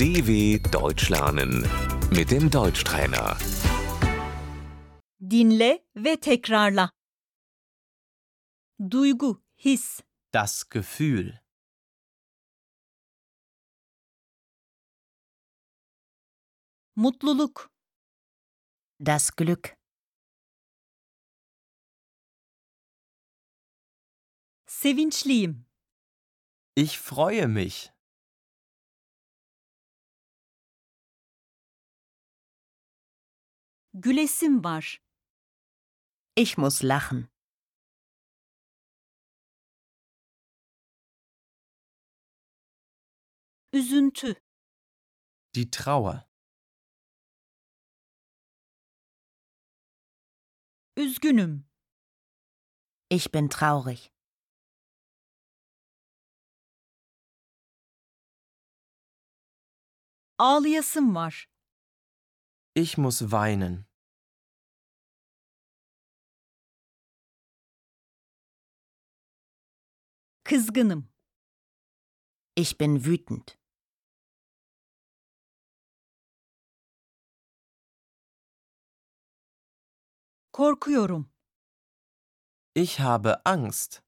DW Deutsch lernen mit dem Deutschtrainer. Dinle ve tekrarla. Duygu, his, Das Gefühl. mutluluk, Das Glück, sevinçliyim, Ich freue mich. gülesim var, ich muss lachen, üzüntü, Die Trauer. üzgünüm, ich bin traurig, ağlayasım var, Ich muss weinen. kızgınım, ich bin wütend, korkuyorum, Ich habe Angst.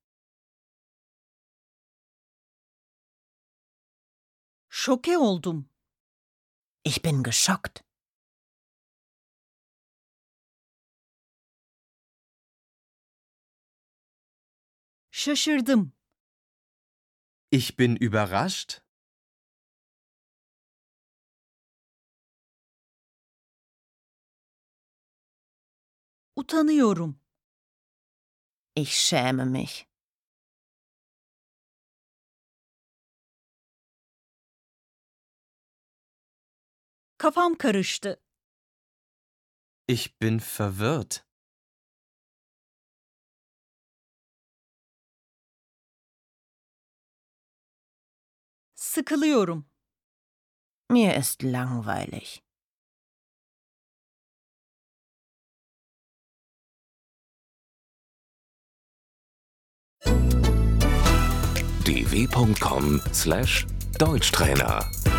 şoke oldum, ich bin geschockt, şaşırdım, Ich bin überrascht. utanıyorum, ich schäme mich, kafam karıştı, Ich bin verwirrt. sıkılıyorum, mir ist langweilig, dw.com/deutschtrainer